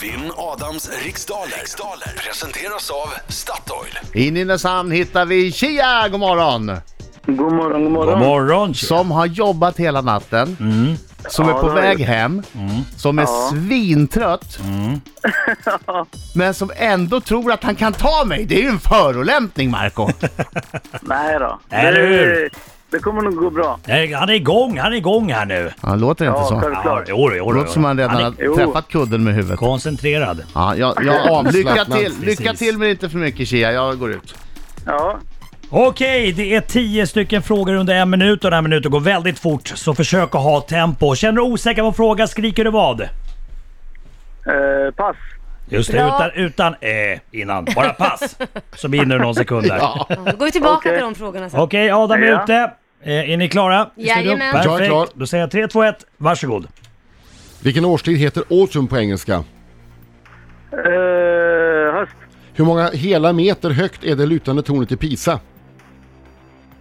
Vinn Adams riksdaler. riksdaler presenteras av Statoil. I Nynäshamn hittar vi Kia, god morgon! God morgon, god morgon. God morgon tjej. Som har jobbat hela natten, som Ja, är på det har väg jag. hem, som är svintrött, men som ändå tror att han kan ta mig. Det är ju en förolämpning, Marco Nej då. Eller hur? Det, det kommer nog gå bra. Nej, Han är igång, han är igång här nu. Han låter inte Ja, så. självklart. Ja, jodå, jodå. Det låter som han redan har är Jo. träffat kudden med huvudet. koncentrerad. Ja, jag, jag lycka Avslappnad. till, lycka Precis. till men inte för mycket Kia, jag går ut. Ja. Okej, det är 10 stycken frågor under en minut och den här minuten går väldigt fort. Så försök att ha tempo. Känner du osäker på en fråga skriker du vad? Eh, pass. Just det, Bra. utan, utan eh, innan. Bara pass. Så vinner du någon sekund där. Då går vi tillbaka Okej. till de frågorna sen. Okej, Adam är Ja. ute. Eh, är ni klara? i studion? Jajamän. Perfekt. Jag är klar. Då säger jag 3, 2, 1. Varsågod. Vilken årstid heter autumn på engelska? Eh, höst. Hur många hela meter högt är det lutande tornet i Pisa?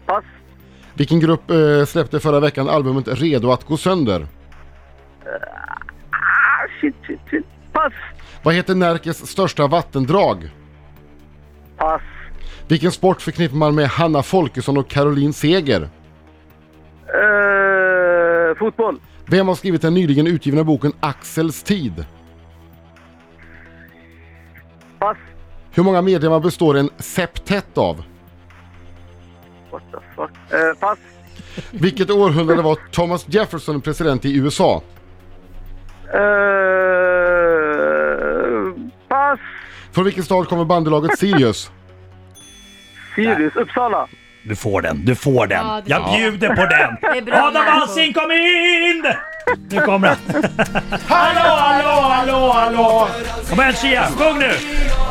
Pass. Vilken grupp eh, släppte förra veckan albumet Redo att gå sönder? Ah, shit, shit, shit. Pass. Vad heter Närkes största vattendrag? Pass. Vilken sport förknippar man med Hanna Folkesson och Caroline Seger? Eh, fotboll. Vem har skrivit den nyligen utgivna boken Axels tid? Pass. Hur många medlemmar består en septett av? What the fuck. Eh, pass. Vilket århundrade var Thomas Jefferson president i USA? Eh, pass. Från vilken stad kommer bandelaget Sirius? Sirius. Uppsala. Du får den, du får den. Ja, det- jag Ja. bjuder på den. Det är bra, Adam Marco. Alsing kom in! Nu kommer han. hallå, hallå, hallå, hallå! Kom igen Shia, sjung nu!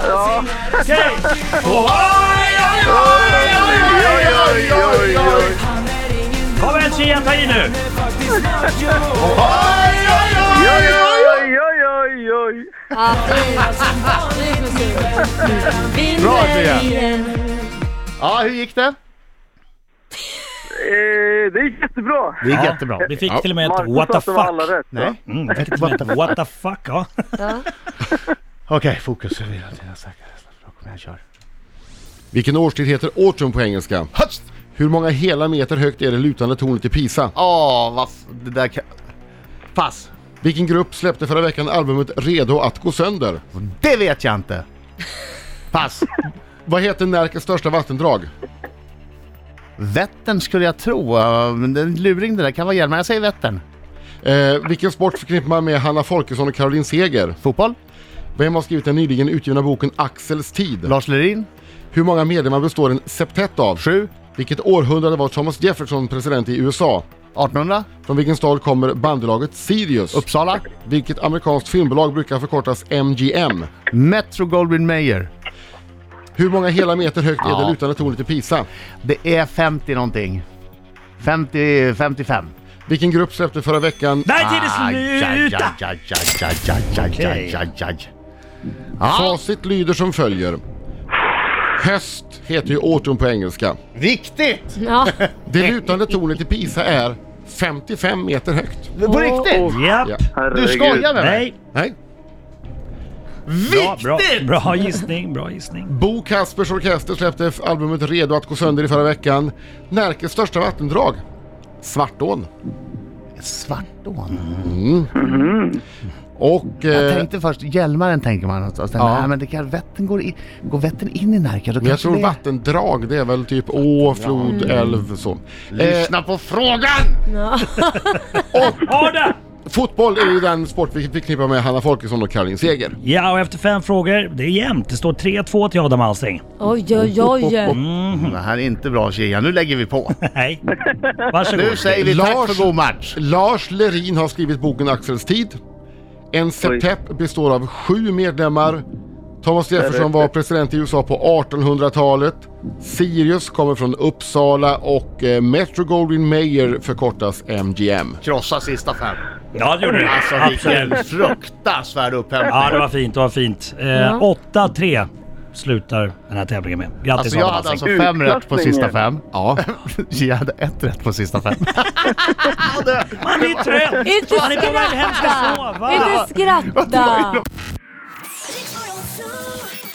Ja. Okej! Oj, oj, oj, oj, oj, oj, oj, oj. Kom igen Shia, ta i nu! Oj, oj, oj, oj, oj. Ja, fin. Fin musik. Vinner Bra, Thea. igen. Ja, hur gick det? Eh, det gick jättebra. Det gick jättebra. Vi fick till och med ett Marcus what sa the att det var alla fuck. rätt. va? Nej? Mm, vi fick till och med ett what the fuck, ja. Ja. Okej, fokus. Vila till den säkra. Kom igen, kör. Vilken årstid heter autumn på engelska? Höst! Hur många hela meter högt är det lutande tornet i Pisa? Åh, vad... f- Det där kan... Pass. Vilken grupp släppte förra veckan albumet Redo att gå sönder? Det vet jag inte. Pass. Vad heter Närkes största vattendrag? Vättern skulle jag tro, eh, men det är en luring det där. Kan vara Hjelmar. Jag säger Vättern. Eh, vilken sport förknippar man med Hanna Folkesson och Caroline Seger? Fotboll? Vem har skrivit den nyligen utgivna boken Axels tid? Lars Lerin? Hur många medlemmar består en septett av? Sju? Vilket århundrade var Thomas Jefferson president i USA? 1800? Från vilken stad kommer bandelaget Sirius? Uppsala? Vilket amerikanskt filmbolag brukar förkortas MGM? Metro Goldwyn Mayer? Hur många hela meter högt är Ja. det lutande tornet i Pisa? Det är 50 någonting. 50, 55. Vilken grupp släppte förra veckan Nej, tiden Aj, aj, är slut! aj, aj, aj, aj, aj, aj, aj, aj. Ja, Facit lyder som följer. Höst heter ju autumn på engelska. riktigt! Ja. Det lutande tornet i Pisa är 55 meter högt. På riktigt! Ja. Ja. Du Herregud. skojar med mig? Nej. Nej. Bra, bra, Viktigt! bra gissning, bra gissning. Bo Kaspers Orkester släppte f- albumet Redo att gå sönder i förra veckan. Närkes största vattendrag? Svartån. Svartån. Eh. Och... Jag Eh, tänkte först, Hjälmaren tänker man och så tänkte, Ja. nej men det kan, vätten går, i, går vätten in i Närke då men jag kanske tror det... vattendrag, det är väl typ å, flod, älv så. Eh, Mm. Lyssna på frågan! Ja. Adam! fotboll är ju den sport vi förknippar med Hanna Folkesson och Caroline Seger. Ja, och efter fem frågor, det är jämnt. Det står 3-2 till Adam Alsing. Oj, oj, oj. Det här är inte bra Kia, nu lägger vi på. Nej. Varsågod. Nu säger vi tack Lars- för god match. Lars Lerin har skrivit boken Axels tid. En septepp består av sju medlemmar. Thomas Jefferson var president i USA på 1800-talet. Sirius kommer från Uppsala och eh, Metro Goldwyn Mayer förkortas MGM. Krossa sista fem. Ja, det gjorde du. Alltså Absolut. vilken fruktansvärd upphämtning. Ja, det var fint. Det var fint. Eh, Ja. 8-3 slutar den här tävlingen med. Grattis Alltså jag Adam hade Alsing. alltså fem rätt på sista fem. Ja, Jag hade ett rätt på sista fem. Man är trött! Inte Man är på väg hem, ska skratta! sova! Inte skratta! you